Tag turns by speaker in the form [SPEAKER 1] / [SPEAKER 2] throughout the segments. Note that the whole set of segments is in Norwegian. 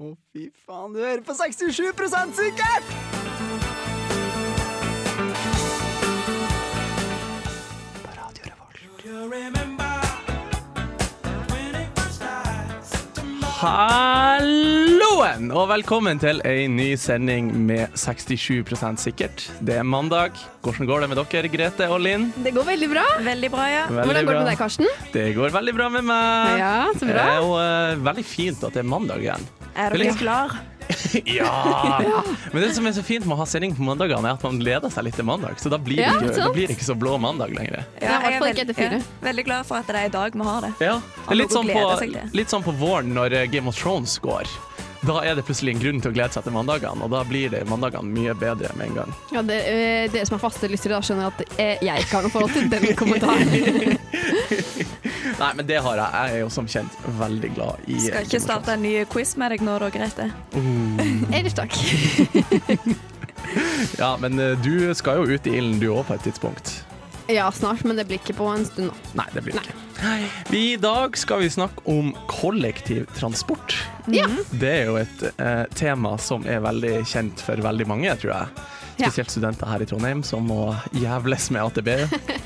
[SPEAKER 1] Å, fy faen, du hører på 67 sikkert! På Radio Revolt.
[SPEAKER 2] Halloen, og velkommen til ei ny sending med 67 sikkert. Det er mandag. Hvordan går det med dere, Grete og Linn?
[SPEAKER 3] Det går veldig bra.
[SPEAKER 4] Veldig bra, ja.
[SPEAKER 3] Hvordan går det med deg, Karsten?
[SPEAKER 2] Det går veldig bra med meg.
[SPEAKER 3] Ja, så bra.
[SPEAKER 2] Det er jo eh, veldig fint at det er mandag igjen. Det
[SPEAKER 4] Er
[SPEAKER 2] er
[SPEAKER 4] dere
[SPEAKER 2] litt-
[SPEAKER 4] klar?
[SPEAKER 2] ja. Men det som er så fint med å ha sending på mandagene, er at man gleder seg litt til mandag. Så da blir,
[SPEAKER 3] Ja,
[SPEAKER 2] det, ikke, da
[SPEAKER 3] sant.
[SPEAKER 2] blir det ikke så blå mandag lenger.
[SPEAKER 4] Ja,
[SPEAKER 3] i hvert
[SPEAKER 4] jeg er
[SPEAKER 3] fall ikke etter fire.
[SPEAKER 4] Ja, veldig glad for at det er i dag vi har det.
[SPEAKER 2] Ja, det er litt
[SPEAKER 4] Noe å
[SPEAKER 2] sånn,
[SPEAKER 4] glede seg
[SPEAKER 2] på,
[SPEAKER 4] til.
[SPEAKER 2] litt sånn på våren når eh, Game of Thrones går. Da er det plutselig en grunn til å glede seg til mandagene, og da blir det mandagene mye bedre med en gang.
[SPEAKER 3] Ja, det, eh, dere som er faste lyttere, da skjønner at eh, jeg ikke har noe forhold til den kommentaren.
[SPEAKER 2] Nei, men det har jeg. Jeg er jo som kjent veldig glad i eh,
[SPEAKER 4] Skal ikke
[SPEAKER 2] Game of
[SPEAKER 4] starte en ny quiz med deg nå, da, Grete.
[SPEAKER 3] Ellers takk.
[SPEAKER 2] Thrones. Ja, men eh, du skal jo ut i ilden du òg på et tidspunkt.
[SPEAKER 3] Ja, snart, men det blir ikke på en stund nå.
[SPEAKER 2] Nei, det blir det ikke. Vi, I dag skal vi snakke om kollektiv transport.
[SPEAKER 3] Ja.
[SPEAKER 2] Det er jo et eh, tema som er veldig kjent for veldig mange, tror jeg.
[SPEAKER 3] Ja.
[SPEAKER 2] Spesielt studenter her i Trondheim som må jævles med AtB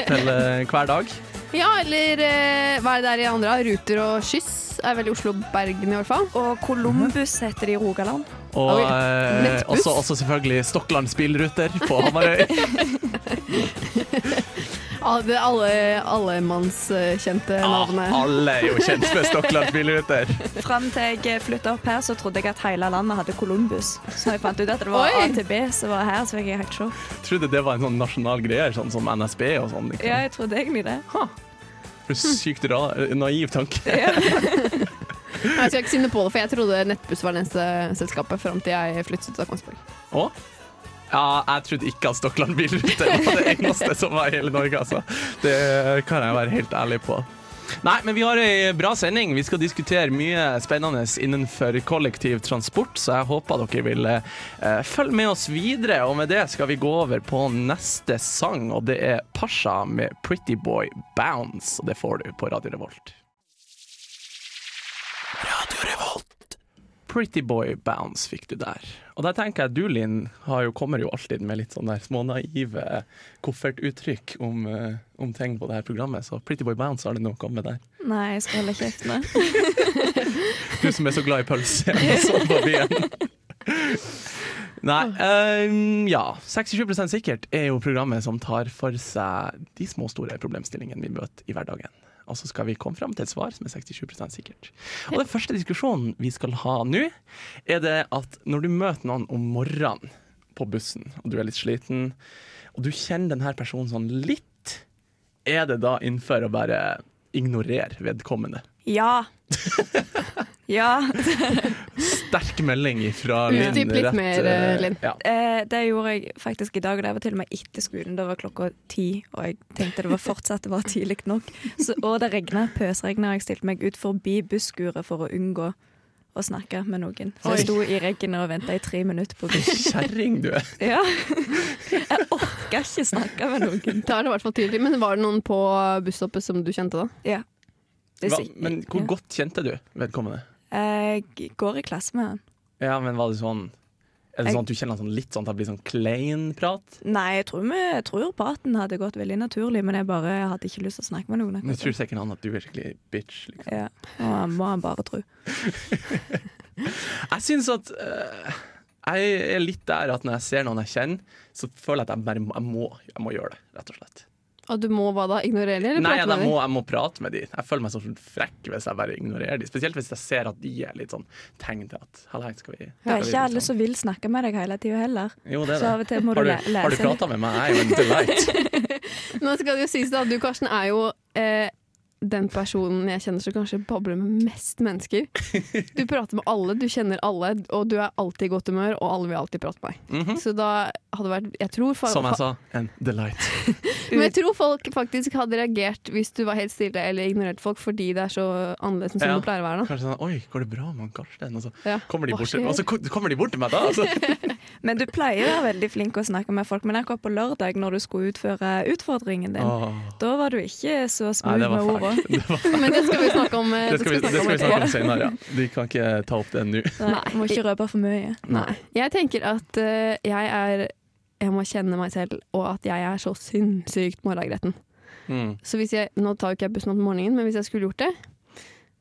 [SPEAKER 2] til eh, hver dag.
[SPEAKER 3] ja, eller eh, hva er det der i andre? Ruter og skyss er vel i Oslo-Bergen i hvert fall.
[SPEAKER 4] Og Columbus heter det i Rogaland.
[SPEAKER 2] Og
[SPEAKER 3] Oi,
[SPEAKER 2] eh,
[SPEAKER 3] nettbuss.
[SPEAKER 2] også, også selvfølgelig Stokkland bilruter på Hamarøy.
[SPEAKER 3] Alle- Det alle allemannskjente
[SPEAKER 2] Ja,
[SPEAKER 3] navnet.
[SPEAKER 2] alle er jo kjent med Stokkland bilruter.
[SPEAKER 4] Fram til jeg flytta opp her, så trodde jeg at hele landet hadde Columbus. Så jeg fant ut at det var
[SPEAKER 3] Oi.
[SPEAKER 4] AtB som var her, så fikk jeg helt sjokk.
[SPEAKER 2] Trodde det var en sånn nasjonal greie, sånn som NSB og sånn. Liksom.
[SPEAKER 4] Ja, jeg trodde egentlig det.
[SPEAKER 2] Sykt ra, naiv tanke.
[SPEAKER 3] Nei, Jeg skal ikke synde på det, for jeg trodde Nettbuss var det eneste selskapet fram til jeg flyttet ut av Kongsberg.
[SPEAKER 2] Og ja, jeg trodde ikke at Stokkland bilruter var det eneste som var i hele Norge, altså. Det kan jeg være helt ærlig på. Nei, men vi har ei bra sending. Vi skal diskutere mye spennende innenfor kollektiv transport, så jeg håper dere vil eh, følge med oss videre. Og med det skal vi gå over på neste sang, og det er Pasha med 'Pretty Boy Bounce'. Og det får du på Radio Revolt. Radio Revolt. Pretty Boy Bounce fikk du der. Og der tenker jeg du, Linn, har jo, kommer jo alltid med litt sånn der smånaive koffertuttrykk om, eh, om ting på det her programmet, så Pretty Boy Bounce har det nå kommet der.
[SPEAKER 4] Nei, jeg skal holde kjeft nå.
[SPEAKER 2] Du som er så glad i pølse og sånn på byen. Nei, eh, ja. 67 sikkert er jo programmet som tar for seg de små, store problemstillingene vi møter i hverdagen. Og så skal vi komme fram til et svar som er 67 sikkert. Og den første diskusjonen vi skal ha nå, er det at når du møter noen om morgenen på bussen, og du er litt sliten, og du kjenner denne personen sånn litt, er det da innenfor å bare ignorere vedkommende?
[SPEAKER 4] Ja. Ja.
[SPEAKER 2] sterk melding fra Linn.
[SPEAKER 3] Utdyp litt
[SPEAKER 2] rett,
[SPEAKER 3] mer,
[SPEAKER 2] eh,
[SPEAKER 3] Linn.
[SPEAKER 2] Ja.
[SPEAKER 4] Eh, det gjorde jeg faktisk i dag, og det var til og med etter skolen. Da var klokka ti, og jeg tenkte det var fortsatt det var tidlig nok. Så, og det regna, pøsregna, og jeg stilte meg ut forbi busskuret for å unngå å snakke med noen. Så
[SPEAKER 2] Oi.
[SPEAKER 4] jeg sto i regnet og venta i tre minutter på buss.
[SPEAKER 2] Kjerring, du er.
[SPEAKER 4] Ja. Jeg orka ikke snakke med noen.
[SPEAKER 3] Da er det i hvert fall tydelig, men var det noen på busstoppet som du kjente da?
[SPEAKER 4] Ja. Det er
[SPEAKER 2] Hva,
[SPEAKER 4] sikkert-
[SPEAKER 2] men hvor
[SPEAKER 4] ja.
[SPEAKER 2] godt kjente du vedkommende?
[SPEAKER 4] Jeg går i klasse med han.
[SPEAKER 2] Ja, men var det sånn Er det
[SPEAKER 4] Jeg-
[SPEAKER 2] sånn at du kjenner sånn litt sånn at det blir sånn klein prat?
[SPEAKER 4] Nei, jeg tror, vi, jeg tror praten hadde gått veldig naturlig, men jeg bare hadde ikke lyst til å snakke med noen.
[SPEAKER 2] Men
[SPEAKER 4] akkurat
[SPEAKER 2] jeg tror sikkert han at du er skikkelig bitch. Liksom.
[SPEAKER 4] da. Ja, må han- må han bare tro.
[SPEAKER 2] Jeg syns at eh, Jeg er litt der at når jeg ser noen jeg kjenner, så føler jeg at jeg bare må, jeg må, jeg må gjøre det, rett og slett.
[SPEAKER 3] Og du må hva da? Ignorere eller
[SPEAKER 2] Nei, jeg,
[SPEAKER 3] prate med
[SPEAKER 2] må, jeg må prate med de. Jeg føler meg sånn frekk hvis jeg bare ignorerer de. Spesielt hvis jeg ser at de er litt sånn tegn til at Halla, skal vi
[SPEAKER 4] Det er
[SPEAKER 2] skal vi
[SPEAKER 4] ikke alle
[SPEAKER 2] liksom-
[SPEAKER 4] som vil snakke med deg hele tida heller.
[SPEAKER 2] Jo, det er det.
[SPEAKER 4] Så av og til må du
[SPEAKER 2] har du,
[SPEAKER 4] læ- lære
[SPEAKER 2] har du
[SPEAKER 4] seg-
[SPEAKER 2] prata med meg? Jeg er jo en delight.
[SPEAKER 3] dem? Nå skal det jo sies da, du Karsten er jo eh, den personen jeg kjenner som kanskje babler med mest mennesker. Du prater med alle, du kjenner alle, og du er alltid i godt humør, og alle vil alltid prate med deg.
[SPEAKER 2] Mhm.
[SPEAKER 3] Så da hadde det vært Jeg tror, fa-
[SPEAKER 2] Som jeg
[SPEAKER 3] fa-
[SPEAKER 2] sa, en delight.
[SPEAKER 3] men jeg tror folk faktisk hadde reagert hvis du var helt stille eller ignorerte folk, fordi det er så annerledes enn som
[SPEAKER 2] Ja.
[SPEAKER 3] det pleier å være. da.
[SPEAKER 2] Kanskje sånn Oi, går det bra med han Karsten? Og så
[SPEAKER 3] Ja.
[SPEAKER 2] kommer de
[SPEAKER 3] Hva
[SPEAKER 2] bort til,
[SPEAKER 3] skjer?
[SPEAKER 2] og så ko- kommer de bort til meg da. og så-
[SPEAKER 4] Men du pleier å være veldig flink å snakke med folk, men akkurat på lørdag, når du skulle utføre utfordringen din,
[SPEAKER 2] Åh.
[SPEAKER 4] da var du ikke så
[SPEAKER 2] Nei,
[SPEAKER 4] smooth
[SPEAKER 2] det var
[SPEAKER 4] med orda.
[SPEAKER 2] fælt. Det, var,
[SPEAKER 3] Men det skal vi snakke om, eh,
[SPEAKER 2] det skal vi, det skal vi snakke om senere. Ja. Vi kan ikke ta opp det nå.
[SPEAKER 4] Nei,
[SPEAKER 3] Nei.
[SPEAKER 4] Må ikke røpe for mye.
[SPEAKER 3] Nei. Jeg tenker at eh, jeg er Jeg må kjenne meg selv, og at jeg er så sinnssykt morgengretten.
[SPEAKER 2] Mm.
[SPEAKER 3] Så hvis jeg Nå tar jo ikke jeg bussen om morgenen, men hvis jeg skulle gjort det,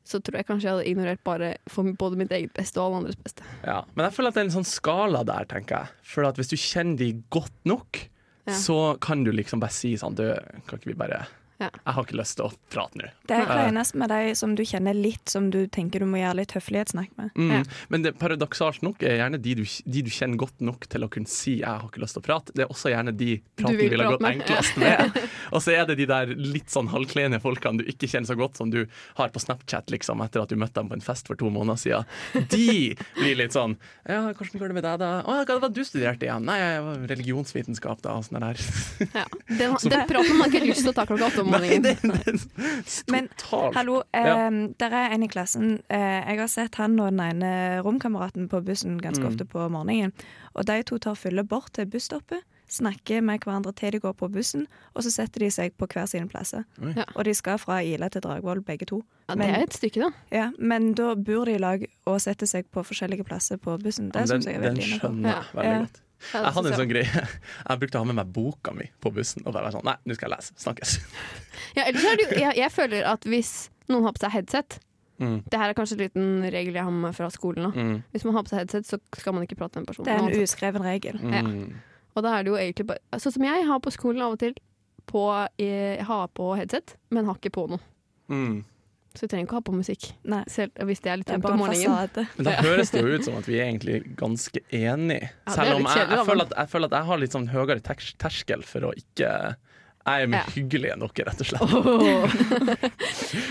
[SPEAKER 3] så tror jeg kanskje jeg hadde ignorert bare for både mitt eget beste og alle andres beste.
[SPEAKER 2] Ja. Men jeg føler at det er en sånn skala der, tenker jeg. For at hvis du kjenner de godt nok,
[SPEAKER 3] Ja.
[SPEAKER 2] så kan du liksom bare si sånn Du, kan ikke vi bare
[SPEAKER 3] Ja.
[SPEAKER 2] Jeg har ikke lyst til å prate nå.
[SPEAKER 4] Det er
[SPEAKER 2] Ja.
[SPEAKER 4] kleinest med de som du kjenner litt, som du tenker du må gjøre litt høflighetssnakk med.
[SPEAKER 2] Mm.
[SPEAKER 3] Ja.
[SPEAKER 2] Men det paradoksalt nok er gjerne de du, de du kjenner godt nok til å kunne si 'jeg har ikke lyst til å prate', det er også gjerne de praten
[SPEAKER 3] vil
[SPEAKER 2] ville gått
[SPEAKER 3] prate med.
[SPEAKER 2] enklest med. Og så er det de der litt sånn halvkleine folkene du ikke kjenner så godt, som du har på Snapchat liksom etter at du møtte dem på en fest for to måneder siden. De blir litt sånn 'ja, hvordan går det med deg, da?' 'Å, hva var det du studerte igjen?' 'Nei, jeg var religionsvitenskap, da', og sånn der.
[SPEAKER 3] Ja. Den, den praten har man ikke lyst til å ta klokka åtte om
[SPEAKER 2] Nei,
[SPEAKER 3] morgenen.
[SPEAKER 2] det, det
[SPEAKER 4] Men
[SPEAKER 2] totalt.
[SPEAKER 4] hallo, eh,
[SPEAKER 2] Ja.
[SPEAKER 4] der er en i klassen. Eh, jeg har sett han og den ene romkameraten på bussen
[SPEAKER 2] Mm.
[SPEAKER 4] ganske ofte på morgenen. Og de to tar fylle bort til busstoppet, snakker med hverandre til de går på bussen, og så setter de seg på hver sine plasser.
[SPEAKER 2] Oi.
[SPEAKER 3] Ja.
[SPEAKER 4] Og de skal fra Ila til Dragvoll, begge to.
[SPEAKER 3] Ja, det er et stykke, da.
[SPEAKER 4] Ja, men da bor de i lag og setter seg på forskjellige plasser på bussen. Det
[SPEAKER 2] Men
[SPEAKER 4] syns
[SPEAKER 2] den,
[SPEAKER 4] jeg er
[SPEAKER 2] den
[SPEAKER 4] veldig innafor.
[SPEAKER 2] skjønner jeg
[SPEAKER 4] Ja. Ja.
[SPEAKER 2] veldig godt.
[SPEAKER 3] Ja, det
[SPEAKER 2] Jeg hadde en
[SPEAKER 3] synes jeg.
[SPEAKER 2] sånn greie Jeg brukte å ha med meg boka mi på bussen og bare være sånn Nei, nå skal jeg lese. Snakkes.
[SPEAKER 3] Ja, ellers er det jo, jeg, jeg føler at hvis noen har på seg headset
[SPEAKER 2] Mm.
[SPEAKER 3] Det her er kanskje en liten regel jeg har med meg fra skolen. Da.
[SPEAKER 2] Mm.
[SPEAKER 3] Hvis man har på seg headset, så skal man ikke prate med den personen.
[SPEAKER 4] Det er en
[SPEAKER 3] uansett.
[SPEAKER 4] uskreven regel.
[SPEAKER 3] Ja. Og da er det jo egentlig bare Sånn som jeg har på skolen av og til på, eh, jeg har på headset, men har ikke på noe.
[SPEAKER 2] Mm.
[SPEAKER 3] Så jeg trenger ikke ha på musikk.
[SPEAKER 4] Nei,
[SPEAKER 3] Selv hvis det er litt
[SPEAKER 4] det er
[SPEAKER 3] tungt
[SPEAKER 4] bare
[SPEAKER 3] om
[SPEAKER 4] en
[SPEAKER 3] morgenen.
[SPEAKER 4] fasade.
[SPEAKER 2] Men da høres det jo ut som at vi er egentlig ganske enige.
[SPEAKER 3] Ja, det er
[SPEAKER 2] Selv om
[SPEAKER 3] litt
[SPEAKER 2] jeg,
[SPEAKER 3] kjedelig, da,
[SPEAKER 2] jeg,
[SPEAKER 3] men-
[SPEAKER 2] føler at, jeg føler at jeg har litt sånn høyere ters terskel for å ikke Jeg er mer
[SPEAKER 3] Ja.
[SPEAKER 2] hyggelig enn dere, rett og slett.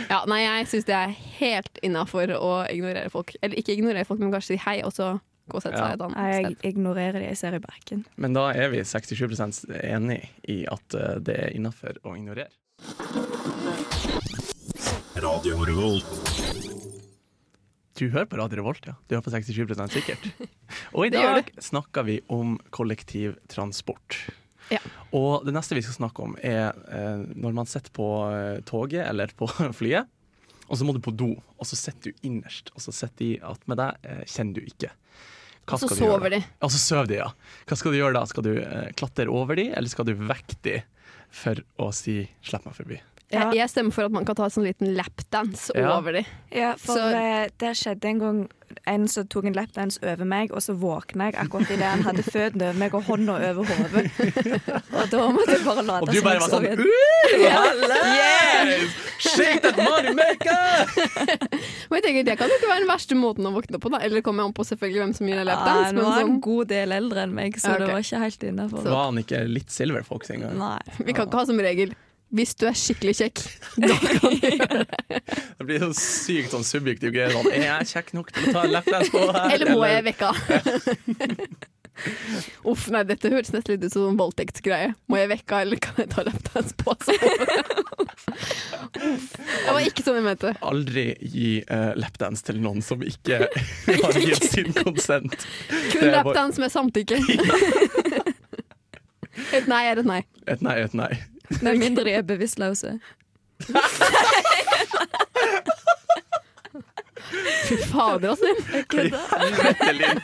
[SPEAKER 3] ja, nei, jeg syns det er helt innafor å ignorere folk. Eller ikke ignorere folk, men kanskje si hei, og så gå og sette seg et annet
[SPEAKER 4] Nei, jeg
[SPEAKER 3] sted.
[SPEAKER 4] ignorerer det jeg ser i bakken.
[SPEAKER 2] Men da er vi 67 enige i at eh, det er innafor å ignorere.
[SPEAKER 5] Radio Revolt.
[SPEAKER 2] Du hører på Radio Revolt, ja. Du hører på 67 sikkert. Og i
[SPEAKER 3] Det gjør
[SPEAKER 2] dag snakker vi om kollektivtransport.
[SPEAKER 3] Ja.
[SPEAKER 2] Og det neste vi skal snakke om, er eh, når man sitter på eh, toget eller på flyet, og så må du på do, og så sitter du innerst, og så sitter de attmed deg, eh, kjenner du ikke. Hva
[SPEAKER 3] Og så
[SPEAKER 2] skal du gjøre da?
[SPEAKER 3] sover de.
[SPEAKER 2] Og så sover de, ja. Hva skal du gjøre da? Skal du eh, klatre over de, eller skal du vekke de for å si 'slipp meg forbi'?
[SPEAKER 4] Ja.
[SPEAKER 3] Jeg, jeg stemmer for at man kan ta sånn liten lapdance
[SPEAKER 2] Ja.
[SPEAKER 3] over de.
[SPEAKER 4] Ja, for
[SPEAKER 3] Så-
[SPEAKER 4] eh, det skjedde en gang en som tok en lapdance over meg, og så våkna jeg akkurat idet han hadde føttene over meg og hånda over hodet. Og da måtte jeg bare
[SPEAKER 2] Og
[SPEAKER 4] late
[SPEAKER 2] du bare
[SPEAKER 4] jeg
[SPEAKER 2] var sånn
[SPEAKER 4] igjen.
[SPEAKER 2] «Uh, Yes! Shake that money maker!
[SPEAKER 3] Men jeg tenker, Det kan jo ikke være den verste måten å våkne opp på, da. Eller det kommer an på selvfølgelig hvem som gir deg
[SPEAKER 4] Ja,
[SPEAKER 3] lapdance.
[SPEAKER 4] nå
[SPEAKER 3] men
[SPEAKER 4] var han
[SPEAKER 3] sånn,
[SPEAKER 4] en god del eldre enn meg, så
[SPEAKER 3] Ja, ok.
[SPEAKER 4] det var ikke helt innafor.
[SPEAKER 2] Var han ikke litt Silverfox engang?
[SPEAKER 4] Nei.
[SPEAKER 3] vi kan ikke ha som regel hvis du er skikkelig kjekk, da kan du gjøre det.
[SPEAKER 2] Det blir så sykt sånn subjektiv greie. Sånn, er jeg kjekk nok til å ta en lapdance på her?
[SPEAKER 3] Eller må jeg vekke av? Uff, nei, dette høres nesten litt ut som en voldtektsgreie. Må jeg vekke av, eller kan jeg ta lapdance på? og sove? Uff. Det var ikke sånn jeg mente.
[SPEAKER 2] Aldri gi eh, lapdance til noen som ikke har gitt sin konsent.
[SPEAKER 3] Kun
[SPEAKER 2] Det er bare-
[SPEAKER 3] lapdance med samtykke. Et nei er et nei.
[SPEAKER 2] Et nei, et nei.
[SPEAKER 4] Med mindre de er bevisstløse.
[SPEAKER 3] Fy fader, altså.
[SPEAKER 2] Hva i helvete, Linn?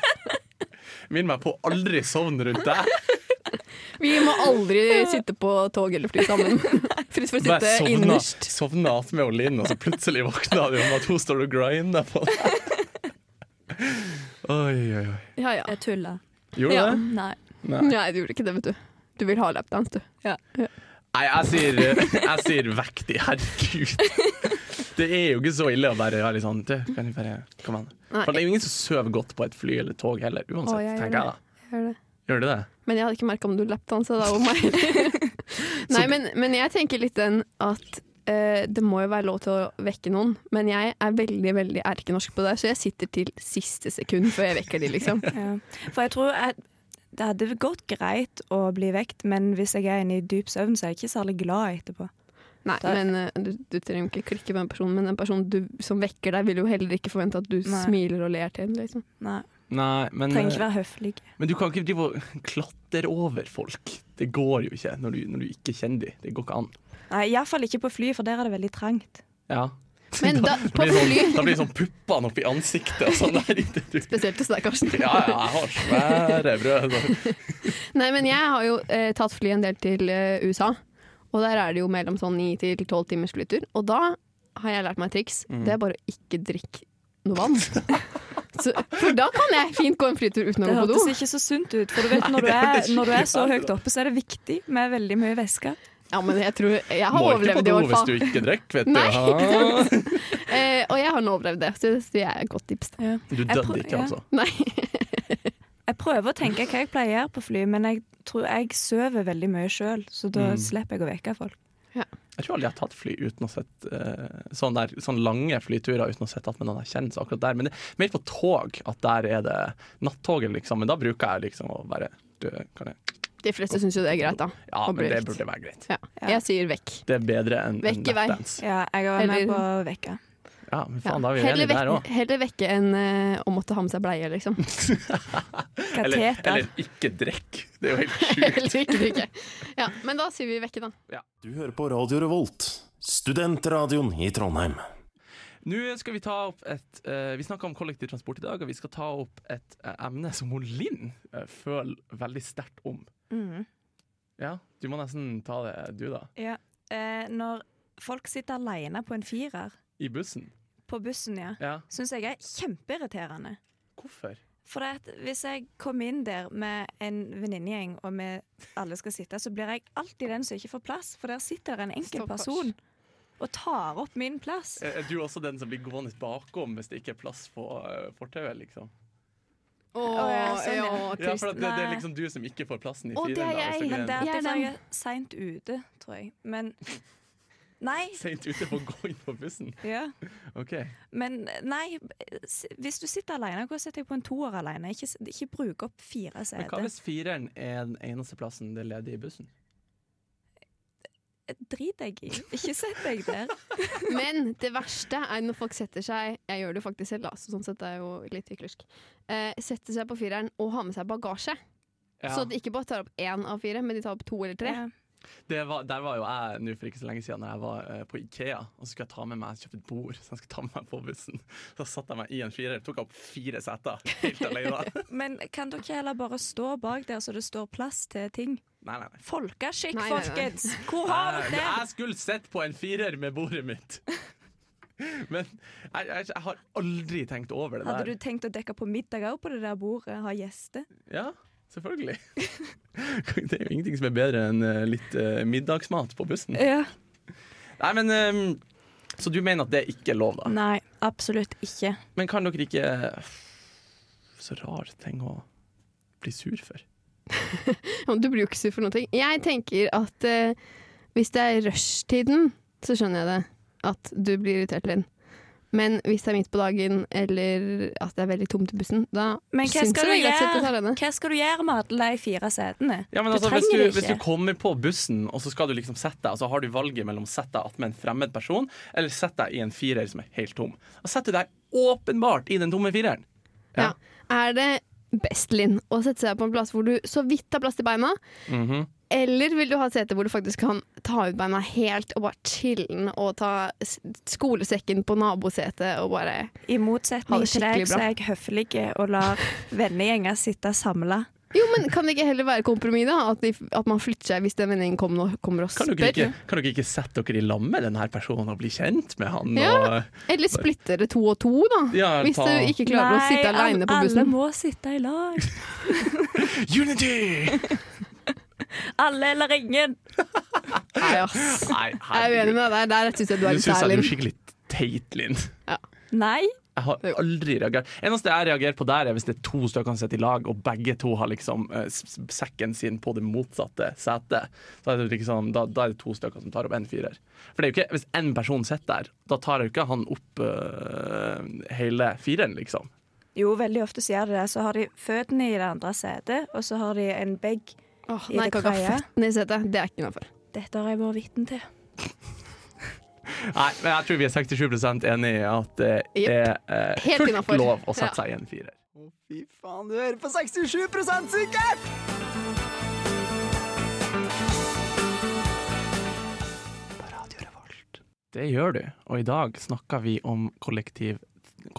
[SPEAKER 2] Minn meg på å aldri sovne rundt deg.
[SPEAKER 3] Vi må aldri sitte på tog eller fly sammen. Frist for å
[SPEAKER 2] Bare
[SPEAKER 3] sitte
[SPEAKER 2] sovna,
[SPEAKER 3] innerst.
[SPEAKER 2] sovna attmed og Linn, og så plutselig våkna du, og at hun står og grinder på deg. Oi, oi, oi.
[SPEAKER 3] Ja, ja.
[SPEAKER 4] Jeg tuller.
[SPEAKER 2] Gjorde du
[SPEAKER 3] Ja.
[SPEAKER 2] det?
[SPEAKER 4] Nei.
[SPEAKER 2] Nei.
[SPEAKER 3] Nei, du gjorde ikke det, vet du. Du vil ha lapdance, du.
[SPEAKER 2] Nei, jeg sier, jeg sier vekk de, herregud. Det er jo ikke så ille å bare være litt sånn Du, kan du bare Kom an.
[SPEAKER 3] Nei.
[SPEAKER 2] For det er jo ingen som sover godt på et fly eller tog heller, uansett,
[SPEAKER 3] Å, jeg gjør
[SPEAKER 2] tenker jeg da.
[SPEAKER 3] Gjør det.
[SPEAKER 2] Gjør du det?
[SPEAKER 3] Men jeg hadde ikke merka om du lapdansa da om meg. Nei, men, men jeg tenker litt den at eh, det må jo være lov til å vekke noen. Men jeg er veldig veldig erkenorsk på det, så jeg sitter til siste sekund før jeg vekker de, liksom.
[SPEAKER 4] Ja. For jeg tror at det hadde gått greit å bli vekt, men hvis jeg er inne i dyp søvn, så er jeg ikke særlig glad etterpå.
[SPEAKER 3] Nei,
[SPEAKER 4] Der.
[SPEAKER 3] men eh, du, du trenger jo ikke klikke med den personen, men den personen du, som vekker deg, vil jo heller ikke forvente at du
[SPEAKER 4] Nei.
[SPEAKER 3] smiler og ler til. Liksom.
[SPEAKER 4] Nei.
[SPEAKER 2] Nei, men,
[SPEAKER 4] Trenger ikke være høflig.
[SPEAKER 2] men du kan ikke drive og klatre over folk. Det går jo ikke når du, når du ikke kjenner dem. Det går ikke an.
[SPEAKER 4] Nei, Iallfall ikke på fly, for der er det veldig trangt.
[SPEAKER 2] Ja.
[SPEAKER 3] Men da, på
[SPEAKER 2] blir det
[SPEAKER 3] fly
[SPEAKER 2] sånn, da blir det sånn puppene oppi ansiktet og sånn. Der, ikke du.
[SPEAKER 3] Spesielt hos deg, Karsten.
[SPEAKER 2] Ja, ja, jeg har svære brød. Sånn.
[SPEAKER 3] Nei, men jeg har jo eh, tatt fly en del til eh, USA, og der er det jo mellom sånn 9 til 12 timers flytur. Og da har jeg lært meg et triks.
[SPEAKER 2] Mm.
[SPEAKER 3] Det er bare å ikke drikke noe vann. Så, for da kan jeg fint gå en flytur uten å
[SPEAKER 4] Det
[SPEAKER 3] gå på do.
[SPEAKER 4] hørtes ikke så sunt ut. For du vet, når du,
[SPEAKER 2] det
[SPEAKER 4] er,
[SPEAKER 2] hørtes skikkelig
[SPEAKER 4] når du er så
[SPEAKER 2] rart ut,
[SPEAKER 4] høyt oppe, så er det viktig med veldig mye væske.
[SPEAKER 3] Ja, men jeg tror Jeg har
[SPEAKER 2] Må ikke på
[SPEAKER 3] overlevd det i
[SPEAKER 2] do
[SPEAKER 3] hvert
[SPEAKER 2] hvis
[SPEAKER 3] fall.
[SPEAKER 2] du ikke drikker, vet du.
[SPEAKER 3] Nei.
[SPEAKER 2] Ah.
[SPEAKER 3] Eh, og jeg har nå overlevd det, så det synes jeg er et godt tips.
[SPEAKER 4] Ja.
[SPEAKER 2] Du
[SPEAKER 4] Jeg
[SPEAKER 2] døde
[SPEAKER 4] prøv-
[SPEAKER 2] ikke,
[SPEAKER 4] ja.
[SPEAKER 2] altså.
[SPEAKER 3] Nei.
[SPEAKER 4] Jeg prøver å tenke hva jeg pleier å gjøre på fly, men jeg tror jeg sover veldig mye sjøl, så da
[SPEAKER 2] Mm.
[SPEAKER 4] slipper jeg å vekke folk.
[SPEAKER 2] Jeg tror aldri jeg har tatt fly uten å sett eh, sånn der, sånn lange flyturer uten å sett at med noen jeg kjenner. Så akkurat der. Men det er mer på tog at der er det nattoget, liksom. Men da bruker jeg liksom å bare du, kan jeg?
[SPEAKER 3] De fleste syns jo det er greit, da.
[SPEAKER 2] Ja,
[SPEAKER 3] Og
[SPEAKER 2] men det
[SPEAKER 3] brukt.
[SPEAKER 2] burde være greit.
[SPEAKER 3] Ja. Jeg sier vekk.
[SPEAKER 2] Det er bedre enn en
[SPEAKER 3] Vekk i vei.
[SPEAKER 2] lapdance.
[SPEAKER 4] Ja, jeg var med
[SPEAKER 3] Eller-
[SPEAKER 4] på å vekke.
[SPEAKER 2] Ja, men
[SPEAKER 3] Ja.
[SPEAKER 2] faen, da er vi
[SPEAKER 3] Heller,
[SPEAKER 2] enige der
[SPEAKER 3] vekk
[SPEAKER 2] òg.
[SPEAKER 3] heller vekke enn eh, å måtte ha med seg bleie, liksom.
[SPEAKER 2] Eller,
[SPEAKER 4] Kateter.
[SPEAKER 2] eller ikke drikk. Det er jo helt sjukt.
[SPEAKER 3] Eller ikke drikke. Ja, men da sier vi vekke, da.
[SPEAKER 5] Du hører på Radio Revolt, studentradioen i Trondheim.
[SPEAKER 2] Nå skal vi ta opp et eh, Vi snakka om kollektivtransport i dag, og vi skal ta opp et eh, emne som hun Linn eh, føler veldig sterkt om.
[SPEAKER 4] Mhm.
[SPEAKER 2] Ja, du må nesten ta det, du, da.
[SPEAKER 4] Ja. Eh, når folk sitter aleine på en firer
[SPEAKER 2] I bussen.
[SPEAKER 4] på bussen, ja,
[SPEAKER 2] Ja,
[SPEAKER 4] syns jeg er kjempeirriterende.
[SPEAKER 2] hvorfor?
[SPEAKER 4] For det at hvis jeg kommer inn der med en venninnegjeng, og vi alle skal sitte, så blir jeg alltid den som ikke får plass, for der sitter det en enkel
[SPEAKER 3] Stakkars.
[SPEAKER 4] person og tar opp min plass.
[SPEAKER 2] Er er du også den som blir gående bakom hvis det ikke er plass på eh, fortauet? liksom?
[SPEAKER 3] Å,
[SPEAKER 4] ja, sånn, ja.
[SPEAKER 2] Ja, for at det, det er
[SPEAKER 4] Nei.
[SPEAKER 2] liksom du som ikke får plassen i
[SPEAKER 3] Å, det er
[SPEAKER 2] fireren. da, hvis det blir
[SPEAKER 3] jeg.
[SPEAKER 4] Men det
[SPEAKER 2] en
[SPEAKER 4] er
[SPEAKER 3] Jeg er
[SPEAKER 4] derfor
[SPEAKER 3] den.
[SPEAKER 4] jeg er seint ute, tror jeg. Men Nei.
[SPEAKER 2] Seint ute på å gå inn på bussen.
[SPEAKER 4] Ja.
[SPEAKER 2] Ok.
[SPEAKER 4] Men nei, s- hvis du sitter alene, gå og sett deg på en toer alene. Ikke, s- ikke bruk opp fire
[SPEAKER 2] Men hva
[SPEAKER 4] seter.
[SPEAKER 2] hvis fireren er den eneste plassen det er ledig i bussen?
[SPEAKER 4] Drit deg i. Ikke sett deg der.
[SPEAKER 3] Men det verste er når folk setter seg Jeg gjør det jo faktisk selv, da, så sånn sett er jeg jo litt hyklersk. Eh, setter seg på fireren og har med seg bagasje.
[SPEAKER 2] Ja,
[SPEAKER 3] Så de ikke bare tar opp én av fire, men de tar opp to eller tre.
[SPEAKER 4] Ja.
[SPEAKER 2] det var, der var jo jeg nå for ikke så lenge siden Når jeg var eh, på Ikea og så skulle jeg ta med meg kjøpe et bord. Så jeg skulle ta med meg på bussen Så satte jeg meg i en firer, tok opp fire seter helt alene.
[SPEAKER 4] Men kan dere heller bare stå bak der så det står plass til ting?
[SPEAKER 2] Nei, nei, nei.
[SPEAKER 4] Folkeskikk,
[SPEAKER 3] Nei, nei, nei.
[SPEAKER 4] folkens! Hvor har
[SPEAKER 2] Jeg,
[SPEAKER 4] dere det?
[SPEAKER 2] jeg skulle sett på en firer med bordet mitt. Men jeg, jeg, jeg har aldri tenkt over det der.
[SPEAKER 4] Hadde du tenkt å dekke på middag òg på det der bordet? Ha gjester?
[SPEAKER 2] Ja, selvfølgelig. det er jo ingenting som er bedre enn eh, litt eh, middagsmat på bussen.
[SPEAKER 4] Ja.
[SPEAKER 2] Nei, men ehm, Så du mener at det ikke er lov, da?
[SPEAKER 4] Nei, absolutt ikke.
[SPEAKER 2] Men kan dere ikke Så rar ting å bli sur for.
[SPEAKER 3] Ja, Du blir jo ikke sur for noen ting. Jeg tenker at eh, hvis det er rushtiden, så skjønner jeg det. At du blir irritert, Linn. Men hvis det er midt på dagen, eller at det er veldig tomt i bussen, da
[SPEAKER 4] Men hva
[SPEAKER 3] syns jeg det
[SPEAKER 4] skal, du
[SPEAKER 3] er greit å sitte
[SPEAKER 4] gjøre?
[SPEAKER 3] alene.
[SPEAKER 4] hva skal du gjøre med alle de fire setene?
[SPEAKER 2] Ja, men
[SPEAKER 4] Du
[SPEAKER 2] altså, hvis,
[SPEAKER 4] trenger
[SPEAKER 2] du,
[SPEAKER 4] det
[SPEAKER 2] hvis
[SPEAKER 4] ikke.
[SPEAKER 2] du kommer på bussen, og så skal du liksom sette deg, og så har du valget mellom å sette deg attmed en fremmed person, eller sette deg i en firer som er helt tom. Da setter du deg åpenbart i den tomme fireren.
[SPEAKER 3] Ja. Er det best, Linn, å sette seg på en plass hvor du så vidt har plass til beina?
[SPEAKER 2] Mhm.
[SPEAKER 3] Eller vil du ha et sete hvor du faktisk kan ta ut beina helt og bare chille'n og ta s- skolesekken på nabosetet og bare
[SPEAKER 4] I
[SPEAKER 3] Ha
[SPEAKER 4] motsetning
[SPEAKER 3] det
[SPEAKER 4] til deg,
[SPEAKER 3] skikkelig
[SPEAKER 4] så
[SPEAKER 3] bra.
[SPEAKER 4] er jeg høflig og lar vennegjenger sitte samla.
[SPEAKER 3] Jo, men kan det ikke heller være kompromiss, da? At, de, at man flytter seg hvis den venninnen kommer og, kommer og
[SPEAKER 2] Kan dere, ikke,
[SPEAKER 3] spør?
[SPEAKER 2] kan dere ikke sette dere i lag med denne personen og bli kjent med han?
[SPEAKER 3] Ja.
[SPEAKER 2] Og,
[SPEAKER 3] Eller splitter det to og to, da.
[SPEAKER 2] Ja,
[SPEAKER 3] hvis
[SPEAKER 2] ta-
[SPEAKER 3] du ikke klarer å sitte aleine på
[SPEAKER 4] alle
[SPEAKER 3] bussen.
[SPEAKER 4] må sitte i lag.
[SPEAKER 2] Unity!
[SPEAKER 4] Alle eller ingen.
[SPEAKER 3] Nei, ass.
[SPEAKER 2] Nei,
[SPEAKER 3] Jeg er uenig med deg der. Der syns jeg du er
[SPEAKER 2] Du
[SPEAKER 3] litt
[SPEAKER 2] syns jeg
[SPEAKER 3] særlig.
[SPEAKER 2] du er skikkelig teit, Linn.
[SPEAKER 4] Nei.
[SPEAKER 2] Jeg har aldri reagert. Eneste jeg reagerer på der, er hvis det er to stykker som sitter i lag, og begge to har liksom eh, s- sekken sin på det motsatte setet. Da er det, liksom, da, da er det to stykker som tar opp en firer. For det er jo ikke, hvis én person sitter der, da tar jo ikke han opp eh, hele fireren, liksom.
[SPEAKER 4] Jo, veldig ofte så gjør de det. Så har de føttene i det andre setet, og så har de en bag.
[SPEAKER 3] Åh,
[SPEAKER 4] I
[SPEAKER 3] nei,
[SPEAKER 4] det
[SPEAKER 3] kan ikke ha
[SPEAKER 4] tredje.
[SPEAKER 3] føttene i setet. Det er ikke innafor.
[SPEAKER 4] Dette har jeg vært vitne til.
[SPEAKER 2] Nei, men jeg tror vi er 67 enig i at det
[SPEAKER 3] Jepp.
[SPEAKER 2] er eh,
[SPEAKER 3] Helt
[SPEAKER 2] fullt
[SPEAKER 3] innenfor.
[SPEAKER 2] lov å sette
[SPEAKER 3] Ja.
[SPEAKER 2] seg i en firer.
[SPEAKER 1] Å, fy faen, du hører på 67 sikkert! På Radio Revolt.
[SPEAKER 2] Det gjør du. Og i dag snakker vi om kollektiv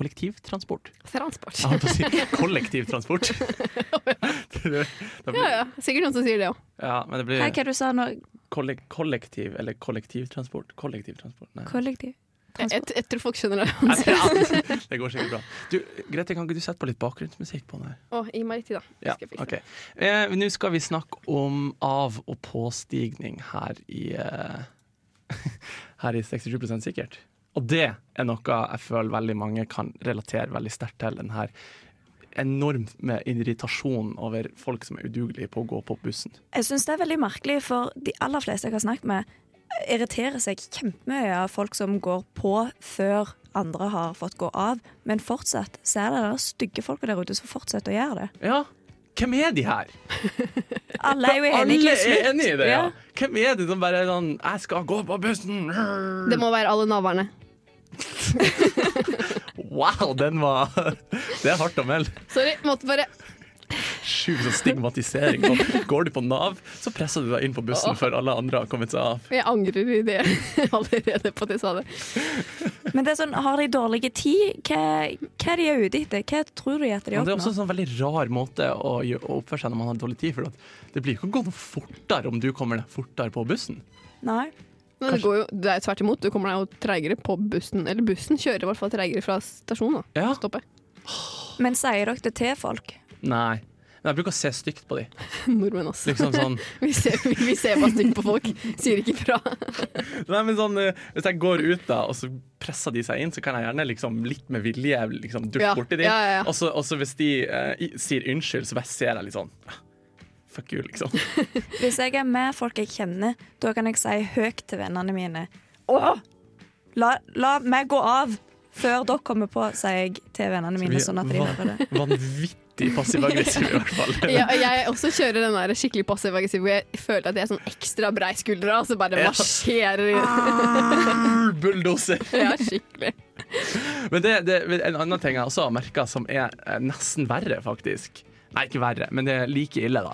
[SPEAKER 2] kollektivtransport.
[SPEAKER 3] Transport.
[SPEAKER 2] Jeg holdt på å si kollektivtransport. Da
[SPEAKER 3] Ja,
[SPEAKER 2] blir-
[SPEAKER 3] ja. Sikkert noen som sier det òg.
[SPEAKER 2] ja, men det
[SPEAKER 4] Hva
[SPEAKER 2] blir
[SPEAKER 4] er det du sa nå?
[SPEAKER 2] kolle kollektiv eller kollektivtransport. Kollektivtransport, nei.
[SPEAKER 4] Kollektiv?
[SPEAKER 3] Jeg,
[SPEAKER 4] Transport?
[SPEAKER 3] jeg tror folk skjønner det.
[SPEAKER 2] Jeg tror- ja, Det går sikkert bra. Du, Grete, kan ikke du sette på litt bakgrunnsmusikk på den her?
[SPEAKER 3] Å, gi meg riktig, da.
[SPEAKER 2] Ja,
[SPEAKER 3] Skal jeg fikse
[SPEAKER 2] ok. Eh, Nå skal vi snakke om av- og påstigning her i eh, Her i 67 sikkert. Og det er noe jeg føler veldig mange kan relatere veldig sterkt til. Den her enormt med irritasjon over folk som er udugelige på å gå på bussen.
[SPEAKER 4] Jeg syns det er veldig merkelig, for de aller fleste jeg har snakket med, irriterer seg kjempemye av folk som går på før andre har fått gå av. Men fortsatt så er det der stygge folka der ute som fortsetter å gjøre det.
[SPEAKER 2] Ja, hvem er de her?
[SPEAKER 4] Alle er jo enige
[SPEAKER 2] Alle
[SPEAKER 4] til slutt.
[SPEAKER 2] er enige i det, ja. Hvem er det som bare er sånn 'Jeg skal gå på bussen'.
[SPEAKER 3] Det må være alle naverne.
[SPEAKER 2] Wow, den var Det er hardt å melde.
[SPEAKER 3] Sorry, måtte bare
[SPEAKER 2] Sjukt sånn stigmatisering. Og går du på Nav, så presser du deg inn på bussen før alle andre har kommet seg av.
[SPEAKER 3] Jeg angrer i det allerede på at jeg sa det.
[SPEAKER 4] Men det er sånn, har de dårlig tid? Hva, hva de er ute etter? Hva tror de at de
[SPEAKER 2] Men det er også
[SPEAKER 4] oppnår?
[SPEAKER 2] en sånn veldig rar måte å, gjø- å oppføre seg når man har dårlig tid. For at det blir jo ikke å gå noe fortere om du kommer deg fortere på bussen.
[SPEAKER 4] Nei.
[SPEAKER 3] Men det, går jo, det er jo tvert imot. Du kommer deg jo treigere på bussen. Eller bussen kjører i hvert fall treigere fra stasjonen. da.
[SPEAKER 2] Ja,
[SPEAKER 3] Stoppet.
[SPEAKER 4] Men sier dere det til folk?
[SPEAKER 2] Nei. Men jeg bruker å se stygt på de.
[SPEAKER 3] Nordmenn, ass.
[SPEAKER 2] Liksom sånn
[SPEAKER 3] Vi ser, vi, vi ser bare stygt på folk. Sier ikke fra.
[SPEAKER 2] Nei, men sånn, eh, Hvis jeg går ut da, og så presser de seg inn, så kan jeg gjerne liksom, litt med vilje liksom, dukke
[SPEAKER 3] Ja,
[SPEAKER 2] borti dem.
[SPEAKER 3] ja, ja, ja.
[SPEAKER 2] Og så og så hvis de eh, i- sier unnskyld, så bare ser jeg litt sånn ah, Fuck you, liksom.
[SPEAKER 4] Hvis jeg er med folk jeg kjenner, da kan jeg si høyt til vennene mine Åh! La, la meg gå av før dere kommer på, sier jeg til vennene mine, sånn at de
[SPEAKER 2] van-
[SPEAKER 4] hører det.
[SPEAKER 2] vanvittig passiv-aggressiv, i hvert fall.
[SPEAKER 3] Jeg, jeg også kjører den der skikkelig passiv-aggressiv hvor jeg føler at jeg er sånn ekstra brei skuldra, og så bare
[SPEAKER 2] Ja. Ah.
[SPEAKER 3] marsjerer inn.
[SPEAKER 2] Bulldoser.
[SPEAKER 3] Ja, skikkelig.
[SPEAKER 2] Men det, det, en annen ting jeg også har merka som er eh, nesten verre, faktisk. Nei, ikke verre, men det er like ille, da.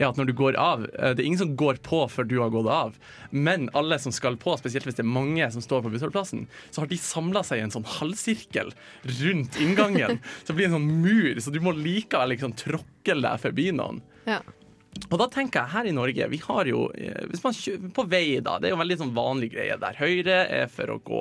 [SPEAKER 2] Er at når du går av eh, Det er ingen som går på før du har gått av, men alle som skal på, spesielt hvis det er mange som står på bussholdeplassen, så har de samla seg i en sånn halvsirkel rundt inngangen. Så det blir en sånn mur, så du må likevel liksom tråkle deg forbi noen.
[SPEAKER 3] Ja.
[SPEAKER 2] Og da tenker jeg her i Norge, vi har jo eh, Hvis man kjø- på vei, da. Det er jo en veldig sånn vanlig greie der høyre er for å gå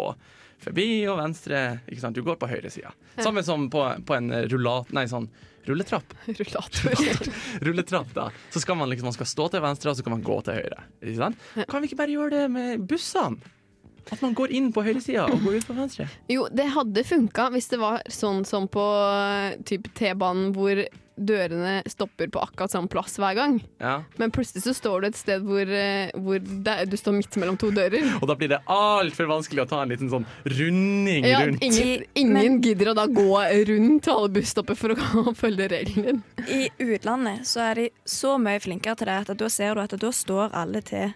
[SPEAKER 2] forbi, og venstre ikke sant? Du går på høyresida. Samme som på, på en rullat... Nei, sånn rulletrapp.
[SPEAKER 3] Rullator.
[SPEAKER 2] Rulletrapp, da. Så skal man liksom Man skal stå til venstre, og så kan man gå til høyre. Ikke sant? Kan vi ikke bare gjøre det med bussene? At man går inn på høyresida og går ut på venstre.
[SPEAKER 3] Jo, det hadde funka hvis det var sånn som på eh, typ T-banen hvor dørene stopper på akkurat samme plass hver gang.
[SPEAKER 2] Ja.
[SPEAKER 3] Men plutselig så står du et sted hvor, eh, hvor det, er- du står midt mellom to dører.
[SPEAKER 2] Og da blir det altfor vanskelig å ta en liten sånn runding
[SPEAKER 3] Ja,
[SPEAKER 2] rundt.
[SPEAKER 3] ingen ingen
[SPEAKER 4] Men-
[SPEAKER 3] gidder å da gå rundt alle busstopper for å gå og følge regelen din.
[SPEAKER 4] I utlandet så er de så mye flinkere til det at da ser du at da står alle til.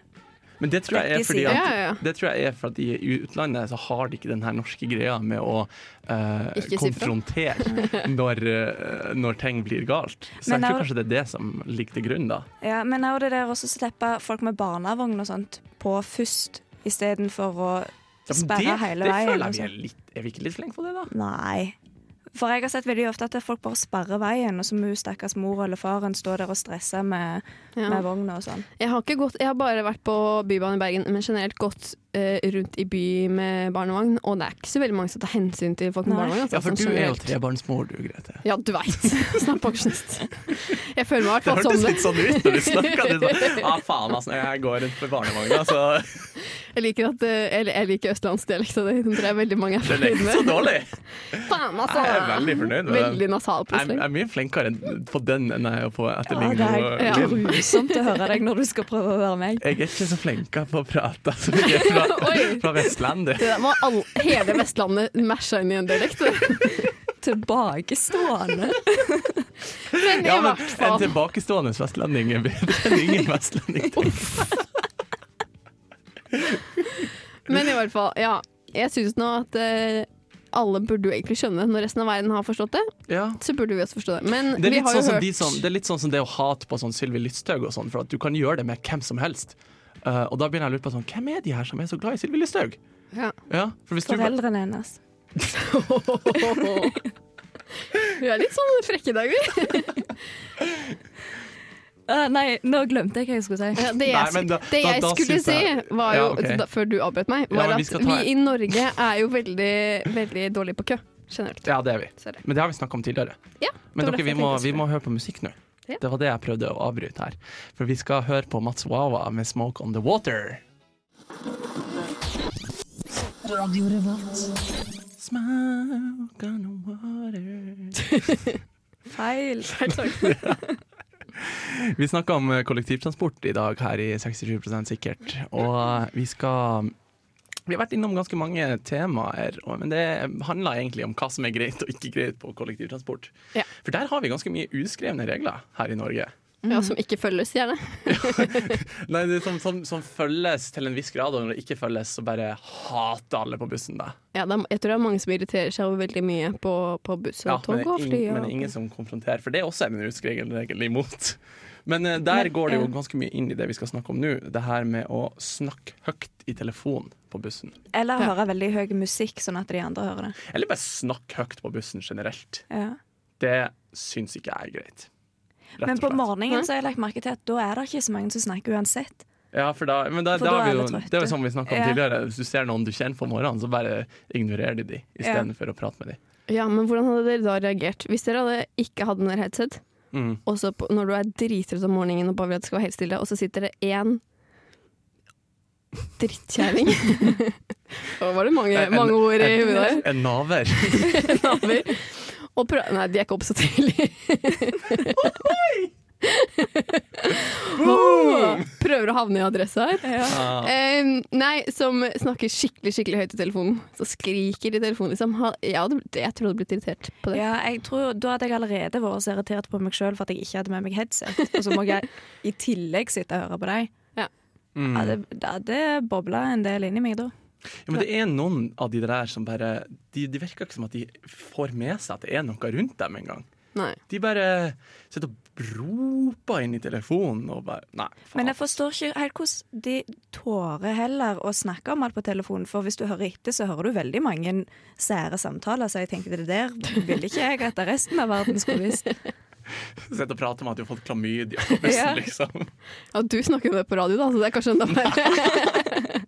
[SPEAKER 2] Men det tror jeg er
[SPEAKER 4] Rekke
[SPEAKER 2] fordi
[SPEAKER 4] sider.
[SPEAKER 2] at,
[SPEAKER 3] Ja, ja, ja.
[SPEAKER 2] Det tror jeg er fordi i utlandet så har de ikke den her norske greia med å eh,
[SPEAKER 3] Ikke si fra.
[SPEAKER 2] konfrontere når, eh, når ting blir galt. Så
[SPEAKER 4] Men
[SPEAKER 2] jeg
[SPEAKER 4] er-
[SPEAKER 2] tror kanskje det er det som ligger til grunn, da.
[SPEAKER 4] Ja, men òg det der å slippe folk med barnevogn og sånt på først, istedenfor å
[SPEAKER 2] Ja, men
[SPEAKER 4] sperre
[SPEAKER 2] det, det
[SPEAKER 4] hele veien. liksom. Sånn
[SPEAKER 2] føler jeg vi
[SPEAKER 4] og sånt.
[SPEAKER 2] er litt Er vi ikke litt flinke på det, da?
[SPEAKER 4] Nei. For jeg har sett veldig ofte at folk bare sperrer veien, og så må stakkars mor eller faren stå der og stresse med,
[SPEAKER 3] Ja.
[SPEAKER 4] med vogna og sånn.
[SPEAKER 3] Jeg har, ikke gått, jeg har bare vært på Bybanen i Bergen, men generelt gått eh, rundt i by med barnevogn. Og det er ikke så veldig mange som tar hensyn til folk med
[SPEAKER 4] Nei.
[SPEAKER 3] barnevogn. altså,
[SPEAKER 2] Ja, for
[SPEAKER 3] sånn
[SPEAKER 2] du er jo
[SPEAKER 3] generelt.
[SPEAKER 2] trebarnsmor, du, Grete.
[SPEAKER 3] Ja, du veit. Snart pensjonist. Jeg føler meg i hvert
[SPEAKER 2] Det
[SPEAKER 3] fall
[SPEAKER 2] hørtes
[SPEAKER 3] som det.
[SPEAKER 2] litt sånn ut når du snakka. Ah, faen, altså. Jeg går rundt med barnevogna, så
[SPEAKER 3] Jeg liker, at, eh, eller, jeg liker østlandsdialekta di. Den tror jeg veldig mange er
[SPEAKER 2] den er
[SPEAKER 3] fornøyd
[SPEAKER 2] ikke så
[SPEAKER 3] med.
[SPEAKER 2] dårlig.
[SPEAKER 3] Faen, altså!
[SPEAKER 2] Jeg er veldig fornøyd med den.
[SPEAKER 3] Veldig nasal
[SPEAKER 2] Jeg
[SPEAKER 3] plutselig.
[SPEAKER 2] jeg er mye flinkere enn- på den enn jeg er på
[SPEAKER 4] Ja, det
[SPEAKER 2] etterligning.
[SPEAKER 4] er
[SPEAKER 3] Ja.
[SPEAKER 4] grusomt å høre deg når du skal prøve å være meg.
[SPEAKER 2] Jeg er ikke så flink på å prate som jeg er fra,
[SPEAKER 3] Oi.
[SPEAKER 2] fra Vestlandet.
[SPEAKER 3] Det der må all, hele Vestlandet masha inn i en dialekt.
[SPEAKER 4] Tilbakestående.
[SPEAKER 3] Men i
[SPEAKER 2] Ja, men
[SPEAKER 3] hvert
[SPEAKER 2] en
[SPEAKER 3] fall.
[SPEAKER 2] tilbakestående vestlending er bedre enn ingen vestlending.
[SPEAKER 3] Men i hvert fall, ja. Jeg syns nå at eh, alle burde jo egentlig skjønne. Når resten av verden har forstått det,
[SPEAKER 2] Ja.
[SPEAKER 3] så burde vi også forstå det. Men
[SPEAKER 2] Det er,
[SPEAKER 3] vi
[SPEAKER 2] litt
[SPEAKER 3] har jo
[SPEAKER 2] sånn som
[SPEAKER 3] hørt
[SPEAKER 2] de som, det er litt sånn som det å hate på sånn Sylvi Lysthaug og sånn, for at du kan gjøre det med hvem som helst. Eh, og da begynner jeg å lure på sånn, hvem er de her som er så glad i Sylvi Lysthaug?
[SPEAKER 3] ja.
[SPEAKER 2] Ja, for hvis du-
[SPEAKER 4] Foreldrene hennes.
[SPEAKER 3] Vi er litt sånn frekke i dag, vi.
[SPEAKER 4] Eh, nei, nå glemte jeg hva jeg skulle si.
[SPEAKER 3] Ja, det
[SPEAKER 2] Nei,
[SPEAKER 3] jeg,
[SPEAKER 2] men da-
[SPEAKER 3] det
[SPEAKER 2] da-
[SPEAKER 3] jeg
[SPEAKER 2] da
[SPEAKER 3] skulle
[SPEAKER 2] synes jeg-
[SPEAKER 3] si, var jo,
[SPEAKER 2] Ja, ok.
[SPEAKER 3] da, før du avbrøt meg,
[SPEAKER 2] Ja,
[SPEAKER 3] var
[SPEAKER 2] men vi
[SPEAKER 3] at
[SPEAKER 2] skal
[SPEAKER 3] vi
[SPEAKER 2] ta-
[SPEAKER 3] i Norge er jo veldig, veldig dårlige på kø. Generelt.
[SPEAKER 2] Ja, det er vi.
[SPEAKER 3] Sorry.
[SPEAKER 2] Men det har vi snakka om tidligere. Men
[SPEAKER 3] Ja, det var
[SPEAKER 2] dere,
[SPEAKER 3] derfor
[SPEAKER 2] vi
[SPEAKER 3] jeg
[SPEAKER 2] må,
[SPEAKER 3] tenkte jeg
[SPEAKER 2] vi
[SPEAKER 3] skulle-
[SPEAKER 2] må høre på musikk nå.
[SPEAKER 3] Ja.
[SPEAKER 2] Det var det jeg prøvde å avbryte her. For vi skal høre på Mats Wawa med 'Smoke On The Water'. Smoke on the water
[SPEAKER 4] Feil.
[SPEAKER 2] Vi snakka om eh, kollektivtransport i dag her i 67 sikkert. Og eh, vi skal Vi har vært innom ganske mange temaer, og- men det handler egentlig om hva som er greit og ikke greit på kollektivtransport.
[SPEAKER 3] Ja.
[SPEAKER 2] For der har vi ganske mye uskrevne regler her i Norge.
[SPEAKER 3] Ja, som ikke følges, gjerne.
[SPEAKER 2] Nei, det er som, som, som følges til en viss grad, og når det ikke følges, så bare hater alle på bussen det.
[SPEAKER 3] Ja, det er, jeg tror det er mange som irriterer seg over veldig mye på, på buss og
[SPEAKER 2] Ja, men, det
[SPEAKER 3] tog
[SPEAKER 2] er
[SPEAKER 3] og
[SPEAKER 2] ing-
[SPEAKER 3] fly. Og,
[SPEAKER 2] men det er ingen som konfronterer, for det er også en utskregel regel imot. Men eh, der
[SPEAKER 4] Men,
[SPEAKER 2] går det jo
[SPEAKER 4] ja.
[SPEAKER 2] ganske mye inn i det vi skal snakke om nå, det her med å snakke høyt i telefon på bussen.
[SPEAKER 4] Eller
[SPEAKER 3] Ja.
[SPEAKER 4] høre veldig høy musikk, sånn at de andre hører det.
[SPEAKER 2] Eller bare snakke høyt på bussen generelt.
[SPEAKER 4] Ja.
[SPEAKER 2] Det syns ikke jeg er greit. Rett
[SPEAKER 4] Men
[SPEAKER 2] og
[SPEAKER 4] på
[SPEAKER 2] slett.
[SPEAKER 4] morgenen så har jeg lagt merke til at da er det ikke så mange som snakker uansett.
[SPEAKER 2] Ja, for da, men da,
[SPEAKER 4] For
[SPEAKER 2] da
[SPEAKER 4] da
[SPEAKER 2] har
[SPEAKER 4] er
[SPEAKER 2] vi
[SPEAKER 4] det
[SPEAKER 2] jo,
[SPEAKER 4] trøtte.
[SPEAKER 2] det er jo som vi snakka om
[SPEAKER 4] Ja.
[SPEAKER 2] tidligere, hvis du ser noen du kjenner på morgenen, så bare ignorerer de de istedenfor å prate med de.
[SPEAKER 3] ja, men hvordan hadde dere da reagert? Hvis dere hadde ikke hadde noe headset,
[SPEAKER 2] Mm.
[SPEAKER 3] og så på, når du er drittrøtt om morgenen og bare vil at det skal være helt stille, og så sitter det én drittkjerring Da var det mange,
[SPEAKER 2] En-
[SPEAKER 3] mange ord i
[SPEAKER 2] en-
[SPEAKER 3] hodet her.
[SPEAKER 2] En naver.
[SPEAKER 3] Naver. Og prøv, nei, de er ikke opp så tidlig. Åh, Prøver å havne i adressa her.
[SPEAKER 2] Ah.
[SPEAKER 3] Eh, nei, som snakker skikkelig skikkelig høyt i telefonen. Så skriker i telefonen, liksom. Ha- Jeg, hadde, blitt- jeg tror jeg hadde blitt irritert på det.
[SPEAKER 4] Ja, jeg tror Da hadde jeg allerede vært så irritert på meg sjøl for at jeg ikke hadde med meg headset. Og så må jeg i tillegg sitte og høre på deg.
[SPEAKER 2] Mm.
[SPEAKER 4] Ja, det, det, det bobla en del inni meg da.
[SPEAKER 2] Ja, men det er noen av de der som bare de, de virker ikke som at de får med seg at det er noe rundt dem engang.
[SPEAKER 3] Nei.
[SPEAKER 2] De bare sitter og roper inn i telefonen og bare Nei, faen.
[SPEAKER 4] Men jeg forstår ikke helt hvordan de tårer heller å snakke om alt på telefonen. For hvis du hører etter, så hører du veldig mange sære samtaler. Så jeg tenkte det der ville ikke jeg at resten av verden skulle visst.
[SPEAKER 2] Sitter og prater om at de har fått klamydia på bussen,
[SPEAKER 4] Ja.
[SPEAKER 2] liksom.
[SPEAKER 3] Ja, du snakker jo om det på radio, da, så det er kanskje enda verre.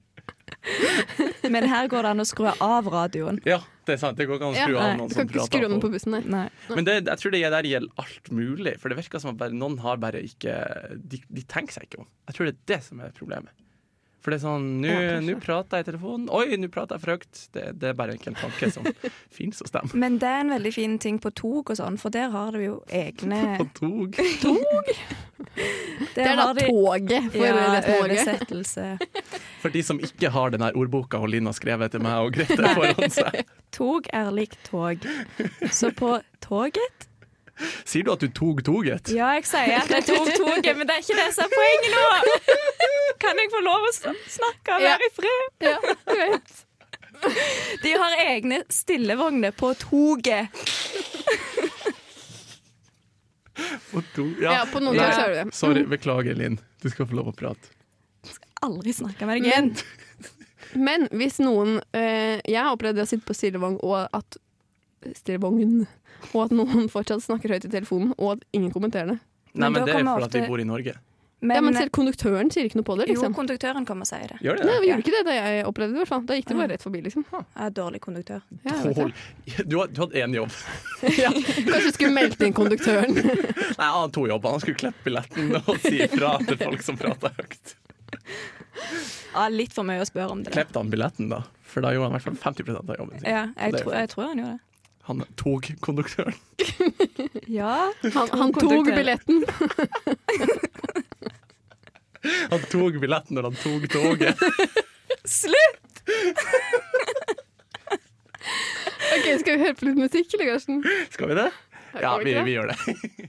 [SPEAKER 4] Men her går det an å skru av radioen.
[SPEAKER 2] Ja, det er sant. Det går ikke an å
[SPEAKER 3] Ja,
[SPEAKER 2] skru av
[SPEAKER 4] nei,
[SPEAKER 2] noen
[SPEAKER 3] Du
[SPEAKER 2] som
[SPEAKER 3] kan ikke skru
[SPEAKER 2] prater
[SPEAKER 3] om den
[SPEAKER 2] på.
[SPEAKER 3] på bussen, nei.
[SPEAKER 4] Nei.
[SPEAKER 2] Men det, jeg tror det der gjelder alt mulig, for det virker som at bare, noen har bare ikke de, de tenker seg ikke om. Jeg tror det er det som er problemet. For det er sånn Nå
[SPEAKER 3] Ja, kanskje.
[SPEAKER 2] nå prater jeg i telefonen. Oi, nå prater jeg for høyt. Det, det er bare ikke en tanke som fins hos dem.
[SPEAKER 4] Men det er en veldig fin ting på tog og sånn, for der har du jo egne
[SPEAKER 2] På tog.
[SPEAKER 4] Der
[SPEAKER 3] Det er da
[SPEAKER 4] har de-
[SPEAKER 3] toget for
[SPEAKER 4] ja,
[SPEAKER 3] resten av Norge.
[SPEAKER 4] oversettelse.
[SPEAKER 2] For de som ikke har den her ordboka og Lina skrev til meg og Grete foran seg.
[SPEAKER 4] Tog er lik tog. Så på toget
[SPEAKER 2] Sier du at du tog toget?
[SPEAKER 4] Ja, jeg sier at jeg tok toget, men det er ikke det som er poenget nå! Kan jeg få lov å sn- snakke og
[SPEAKER 3] Ja.
[SPEAKER 4] være i fred?
[SPEAKER 3] Ja, du vet.
[SPEAKER 4] De har egne stillevogner på toget.
[SPEAKER 2] På tog-
[SPEAKER 3] Ja, på noen
[SPEAKER 2] Nei,
[SPEAKER 3] tog så er det Mm. det.
[SPEAKER 2] Sorry, beklager, Linn. Du skal få lov å prate.
[SPEAKER 4] Aldri snakke med deg
[SPEAKER 3] Men,
[SPEAKER 4] igjen.
[SPEAKER 3] men hvis noen eh, Jeg har opplevd det å sitte på stillevogn og at Stillevogn. Og at noen fortsatt snakker høyt i telefonen, og at ingen kommenterer det.
[SPEAKER 2] Nei, men
[SPEAKER 4] Men da
[SPEAKER 2] det er
[SPEAKER 4] kommer
[SPEAKER 2] for at vi
[SPEAKER 4] ofte- eh,
[SPEAKER 2] bor i Norge.
[SPEAKER 3] ja, men selv konduktøren sier ikke noe på det.
[SPEAKER 4] jo,
[SPEAKER 3] Liksom.
[SPEAKER 4] konduktøren kommer og sier det.
[SPEAKER 2] Gjør det
[SPEAKER 3] Nei, vi
[SPEAKER 2] det?
[SPEAKER 3] gjorde ikke det da jeg opplevde det. i hvert fall. Da gikk det bare rett forbi. liksom.
[SPEAKER 4] Jeg er dårlig konduktør.
[SPEAKER 3] Ja, jeg vet det.
[SPEAKER 2] Hold- Du, har- du hadde én jobb.
[SPEAKER 3] Kanskje du skulle meldt inn konduktøren.
[SPEAKER 2] Nei, han hadde to jobber. Han skulle klippe billetten og si ifra til folk som prata høyt.
[SPEAKER 4] Ja, litt for mye å spørre om det. der.
[SPEAKER 2] Klippet han billetten, da? For da gjorde han i hvert fall 50 av jobben sin.
[SPEAKER 4] Ja, jeg,
[SPEAKER 2] Det er
[SPEAKER 4] tror-
[SPEAKER 2] fint.
[SPEAKER 4] jeg tror han gjorde det.
[SPEAKER 2] Han togkonduktøren.
[SPEAKER 4] Ja.
[SPEAKER 3] Han, han tok billetten.
[SPEAKER 2] Han tok billetten når han tok toget.
[SPEAKER 4] Slutt!
[SPEAKER 3] Ok, Skal vi høre på litt musikk, eller, Karsten?
[SPEAKER 2] Skal vi det? Ja,
[SPEAKER 3] Skal vi
[SPEAKER 2] vi,
[SPEAKER 3] ikke det?
[SPEAKER 2] vi gjør det.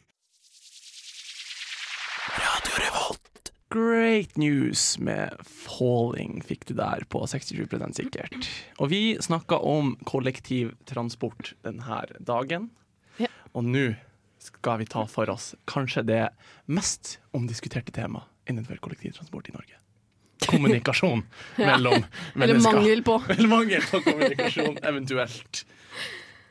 [SPEAKER 2] Great news med Falling fikk du der på 67 sikkert. Og vi snakka om kollektivtransport denne dagen.
[SPEAKER 3] Ja.
[SPEAKER 2] Og nå skal vi ta for oss kanskje det mest omdiskuterte temaet innenfor kollektivtransport i Norge. Kommunikasjon mellom
[SPEAKER 3] Eller
[SPEAKER 2] mennesker.
[SPEAKER 3] mangel på.
[SPEAKER 2] Eller mangel på kommunikasjon, eventuelt.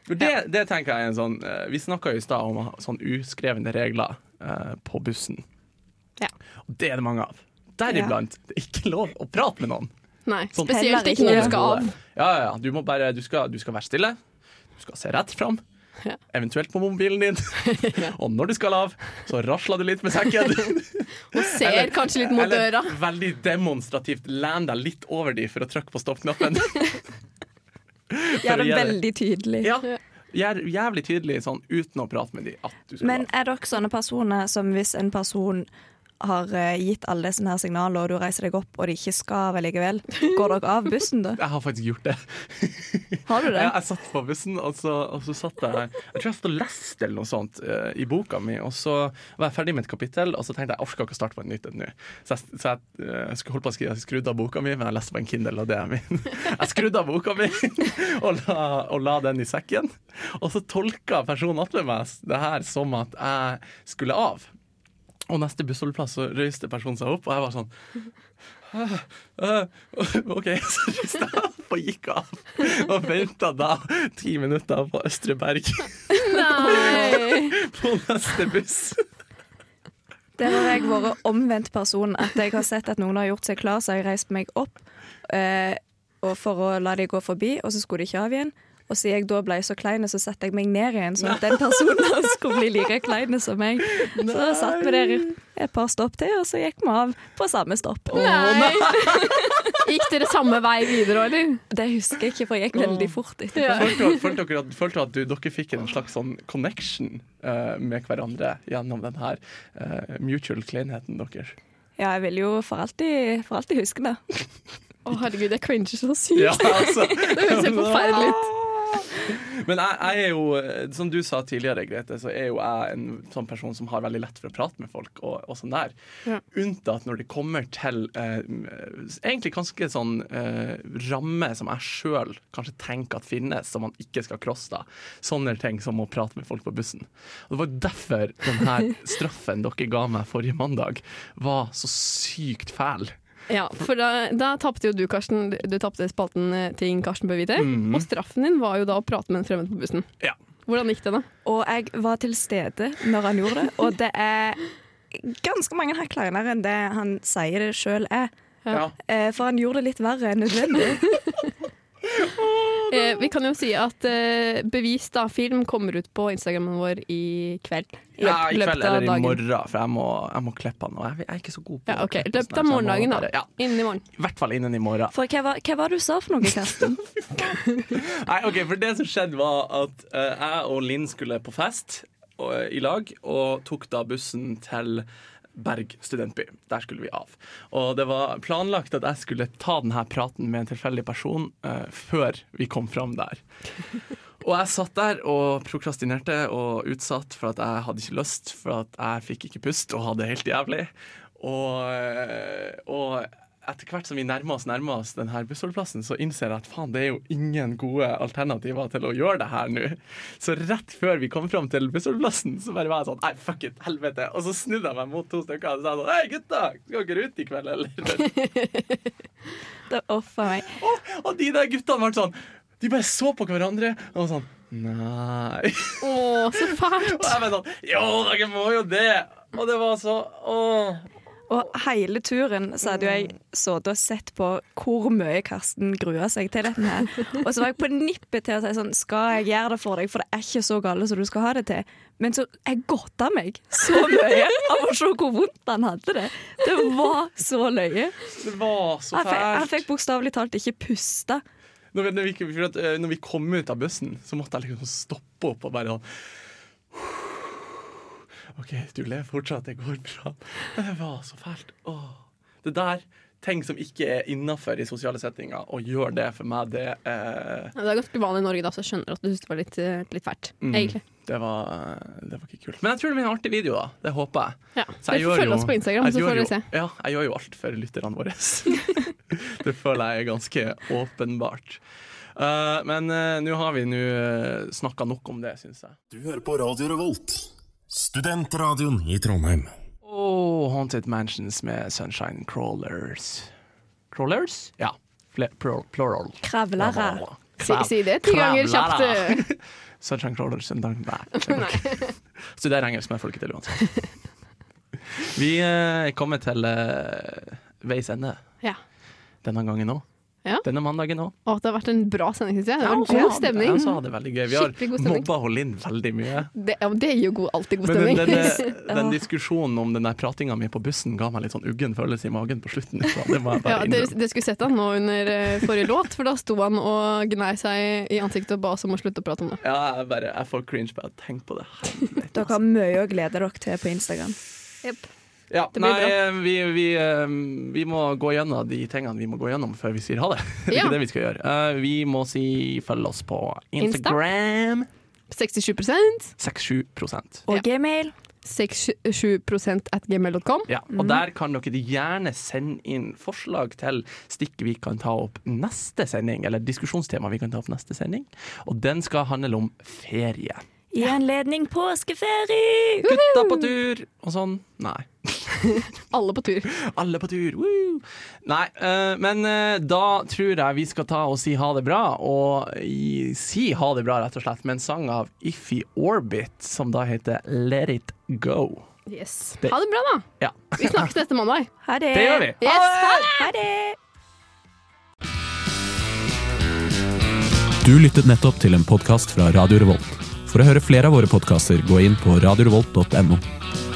[SPEAKER 2] For Det, det tenker jeg er en sånn eh, Vi snakka jo i stad om sånn uskrevne regler eh, på bussen.
[SPEAKER 3] Ja.
[SPEAKER 2] Og det er det mange av. Deriblant det er ikke lov å prate med noen.
[SPEAKER 3] Nei,
[SPEAKER 2] Sånn.
[SPEAKER 3] spesielt ikke når du
[SPEAKER 2] Overhodet.
[SPEAKER 3] skal av.
[SPEAKER 2] Ja, ja, ja. Du, må bare, du, skal, du skal være stille. Du skal se rett fram.
[SPEAKER 3] Ja.
[SPEAKER 2] Eventuelt på mobilen din. Og når du skal av, så rasler du litt med sekken.
[SPEAKER 3] Og ser kanskje litt mot
[SPEAKER 2] Eller
[SPEAKER 3] døra.
[SPEAKER 2] veldig demonstrativt land deg litt over de for å trykke på stoppknappen.
[SPEAKER 4] Gjør det
[SPEAKER 2] gjøre-
[SPEAKER 4] veldig tydelig.
[SPEAKER 2] Ja. Jæv, jævlig tydelig sånn uten å prate med de at du skal
[SPEAKER 4] Men er dere sånne personer som hvis en person har eh, gitt alle sånne her signaler, og du reiser deg opp, og de ikke skal av likevel, går dere av bussen da?
[SPEAKER 2] av. Jeg har faktisk gjort det.
[SPEAKER 4] Har du det?
[SPEAKER 2] Jeg, jeg satt på bussen, og så, og så satt jeg Jeg tror jeg satt og leste eller noe sånt eh, i boka mi, og så var jeg ferdig med et kapittel, og så tenkte jeg jeg orker ikke å starte på et nytt et nå. Så jeg, så jeg eh, skulle holdt på å skrive, jeg skrudde av boka mi, men jeg leste på en Kindle, og det er min. Jeg skrudde av boka mi og la, og la den i sekken, og så tolka personen attmed meg det her som at jeg skulle av. Og neste bussholdeplass så røyste personen seg opp, og jeg var sånn «Hæ? Hæ? Eh, OK, så røyste jeg opp og gikk av. Og venta da ti minutter på Østre Berg
[SPEAKER 3] Nei!
[SPEAKER 2] på neste buss.
[SPEAKER 4] Der har jeg vært omvendt person. At jeg har sett at noen har gjort seg klar, så har jeg reist meg opp eh, og for å la de gå forbi, og så skulle de ikke av igjen. Og siden jeg da ble så klein, så satte jeg meg ned igjen, sånn at den personen skulle bli like klein som meg. Så satt vi der et par stopp til, og så gikk vi av på samme stopp.
[SPEAKER 3] Nei. Gikk dere samme vei videre, eller?
[SPEAKER 4] Det husker jeg ikke, for jeg gikk veldig fort etterpå.
[SPEAKER 3] Ja.
[SPEAKER 2] Følte dere- følte dere at, følte dere at du, dere fikk en slags sånn connection eh, med hverandre gjennom den her eh, mutual kleinheten deres?
[SPEAKER 4] Ja, jeg vil jo for alltid, for alltid huske det.
[SPEAKER 3] Å, herregud, jeg cringer så sykt.
[SPEAKER 2] Ja, altså.
[SPEAKER 3] Det høres helt forferdelig ut.
[SPEAKER 2] Men jeg, jeg er jo, eh, som du sa tidligere, Grete, så er jo jeg en sånn person som har veldig lett for å prate med folk. og, og sånn der.
[SPEAKER 3] Ja.
[SPEAKER 2] Unntatt når det kommer til eh, egentlig ganske sånn eh, ramme som jeg sjøl kanskje tenker at finnes, som man ikke skal crosse. da. Sånne ting som å prate med folk på bussen. Og Det var derfor den her straffen dere ga meg forrige mandag, var så sykt fæl.
[SPEAKER 3] Ja, for da, da tapte jo du, Karsten. Du- Du tapte spalten eh, Ting Karsten bør vite.
[SPEAKER 2] Mhm.
[SPEAKER 3] Og straffen din var jo da å prate med en fremmed på bussen.
[SPEAKER 2] Ja.
[SPEAKER 3] Hvordan gikk det, da?
[SPEAKER 4] Og jeg var til stede når han gjorde det, og det er ganske mange hakk kleinere enn det han sier det sjøl er.
[SPEAKER 2] Ja.
[SPEAKER 4] Eh, For han gjorde det litt verre enn nødvendig.
[SPEAKER 3] Eh, vi kan jo si at eh, Bevis, da, film, kommer ut på Instagrammen vår i kveld. Løp-
[SPEAKER 2] Ja, I
[SPEAKER 3] løpet
[SPEAKER 2] kveld
[SPEAKER 3] av
[SPEAKER 2] eller i
[SPEAKER 3] dagen.
[SPEAKER 2] morgen, for jeg må, jeg må klippe han. Og jeg, jeg er ikke så god på
[SPEAKER 3] Ja,
[SPEAKER 2] å
[SPEAKER 3] ok.
[SPEAKER 2] klippe sånn
[SPEAKER 3] Løpet
[SPEAKER 2] her, så
[SPEAKER 3] av
[SPEAKER 2] jeg må
[SPEAKER 3] morgendagen, da.
[SPEAKER 2] bare- Ja,
[SPEAKER 3] Innen i morgen.
[SPEAKER 2] I hvert fall innen i morgen.
[SPEAKER 4] For hva var, hva var det du sa for noe, Karsten?
[SPEAKER 2] Nei, ok, for det som skjedde var at eh, jeg og Linn skulle på fest og, eh, i lag, og tok da bussen til Berg studentby. Der skulle vi av. Og det var planlagt at jeg skulle ta denne praten med en tilfeldig person eh, før vi kom fram der. Og jeg satt der og prokrastinerte og utsatt for at jeg hadde ikke lyst, for at jeg fikk ikke pust og hadde det helt jævlig. Og, eh, og etter hvert som vi nærmer oss, nærmer oss denne bussholdeplassen, så innser jeg at faen, det er jo ingen gode alternativer til å gjøre det her nå. Så rett før vi kom fram til bussholdeplassen, så bare var jeg sånn Nei, fuck it, helvete. Og så snudde jeg meg mot to stykker og sa sånn Hei, gutta, skal dere ut i kveld, eller?
[SPEAKER 4] Det offer meg.
[SPEAKER 2] Og, og de der guttene ble sånn De bare så på hverandre og var sånn Nei.
[SPEAKER 3] Å, så fælt!
[SPEAKER 2] Og jeg var sånn Jo, dere må jo det! Og det var så Åh.
[SPEAKER 4] Og hele turen så hadde jo jeg sittet og sett på hvor mye Karsten grua seg til dette her. Og så var jeg på nippet til å si sånn Skal jeg gjøre det for deg, for det er ikke så gale som du skal ha det til. Men så jeg godta meg så mye av å se hvor vondt han hadde det. Det var så løye.
[SPEAKER 2] Det var så
[SPEAKER 4] Han fikk, han
[SPEAKER 2] fælt.
[SPEAKER 4] fikk bokstavelig talt ikke puste.
[SPEAKER 2] Når vi, når, vi, ikke- for at, eh, når vi kom ut av bussen, så måtte jeg liksom stoppe opp og bare sånn OK, du lever fortsatt, det går bra. Men det var så fælt. Åh. Det der, ting som ikke er innafor i sosiale settinger, og gjør det for meg, det eh,
[SPEAKER 3] Ja, Det er ganske vanlig i Norge, da, så jeg skjønner at du syns det var litt, eh, litt fælt.
[SPEAKER 2] Mm.
[SPEAKER 3] Egentlig.
[SPEAKER 2] Det var, eh, det var ikke kult. Men jeg tror det blir en artig video, da. Det håper jeg.
[SPEAKER 3] Ja.
[SPEAKER 2] Så jeg
[SPEAKER 3] Dere
[SPEAKER 2] gjør
[SPEAKER 3] får
[SPEAKER 2] jo-
[SPEAKER 3] følge oss på Instagram,
[SPEAKER 2] jeg
[SPEAKER 3] så
[SPEAKER 2] gjør
[SPEAKER 3] får dere
[SPEAKER 2] jo-
[SPEAKER 3] se.
[SPEAKER 2] Ja, jeg gjør jo alt for lytterne våre. det føler jeg er ganske åpenbart. Eh, men eh, nå har vi nå uh, snakka nok om det, syns jeg.
[SPEAKER 5] Du hører på Radio Revolt, studentradioen i Trondheim.
[SPEAKER 2] Og Haunted Mansions med Sunshine Crawlers. Crawlers? Ja. Fle pro- plural.
[SPEAKER 4] Kravlere.
[SPEAKER 3] Si, si det ti ganger kjapt.
[SPEAKER 2] Kravlere.
[SPEAKER 3] eh.
[SPEAKER 2] Sunshine Crawlers en dag Nei. det går ikke. Studerer engelsk, men jeg får det ikke til uansett. Vi eh, kommer til eh, veis ende
[SPEAKER 3] Ja.
[SPEAKER 2] denne gangen òg.
[SPEAKER 3] Ja.
[SPEAKER 2] Denne mandagen òg.
[SPEAKER 3] Og det har vært en bra sending, syns jeg. Det
[SPEAKER 2] Ja,
[SPEAKER 3] har vært god stemning.
[SPEAKER 2] Jeg sa det veldig gøy. Vi
[SPEAKER 3] Skikkelig
[SPEAKER 2] har
[SPEAKER 3] god stemning.
[SPEAKER 2] mobba Linn veldig mye.
[SPEAKER 3] Det, ja, men det gir jo god, alltid god
[SPEAKER 2] Men den,
[SPEAKER 3] stemning.
[SPEAKER 2] den, eh, den diskusjonen om den der pratinga mi på bussen ga meg litt sånn uggen følelse i magen på slutten. Så det må jeg
[SPEAKER 3] Ja,
[SPEAKER 2] bare
[SPEAKER 3] dere,
[SPEAKER 2] innrømme.
[SPEAKER 3] dere skulle sett han nå under eh, forrige låt, for da sto han og gnei seg i ansiktet og ba oss om å slutte å prate om det.
[SPEAKER 2] Ja, jeg, bare, jeg får cringe bare av å tenke på det. Helvete,
[SPEAKER 4] Dere har mye å glede dere til på Instagram.
[SPEAKER 2] Ja,
[SPEAKER 3] Det blir
[SPEAKER 2] nei, eh, vi, vi, eh, vi må gå gjennom de tingene vi må gå gjennom før vi sier ha det. Det er
[SPEAKER 3] Ja.
[SPEAKER 2] ikke det vi skal gjøre. Eh, vi må si følg oss på
[SPEAKER 3] Insta.
[SPEAKER 2] Instagram.
[SPEAKER 3] 67
[SPEAKER 2] 6-7
[SPEAKER 3] Ja.
[SPEAKER 4] Og gmail.
[SPEAKER 3] 67 at gmail.com.
[SPEAKER 2] Ja, og der kan dere gjerne sende inn forslag til stikk vi kan ta opp neste sending, eller diskusjonstema vi kan ta opp neste sending. Og den skal handle om ferie.
[SPEAKER 4] I anledning påskeferie!
[SPEAKER 2] Gutta på tur og sånn. Nei.
[SPEAKER 3] Alle på tur.
[SPEAKER 2] Alle på tur! Woo! Nei, eh, men eh, da tror jeg vi skal ta og si ha det bra. Og i, si ha det bra, rett og slett, med en sang av Iffy Orbit, som da heter Let It Go.
[SPEAKER 3] Yes.
[SPEAKER 2] Det-
[SPEAKER 3] Ha det bra, da.
[SPEAKER 2] Ja,
[SPEAKER 3] Vi snakkes neste mandag.
[SPEAKER 4] Ha det!
[SPEAKER 2] det gjør vi!
[SPEAKER 3] Yes, ha det!
[SPEAKER 4] Ha det!
[SPEAKER 6] Du lyttet nettopp til en podkast fra Radio Revolt. For å høre flere av våre podkaster, gå inn på radiorevolt.no.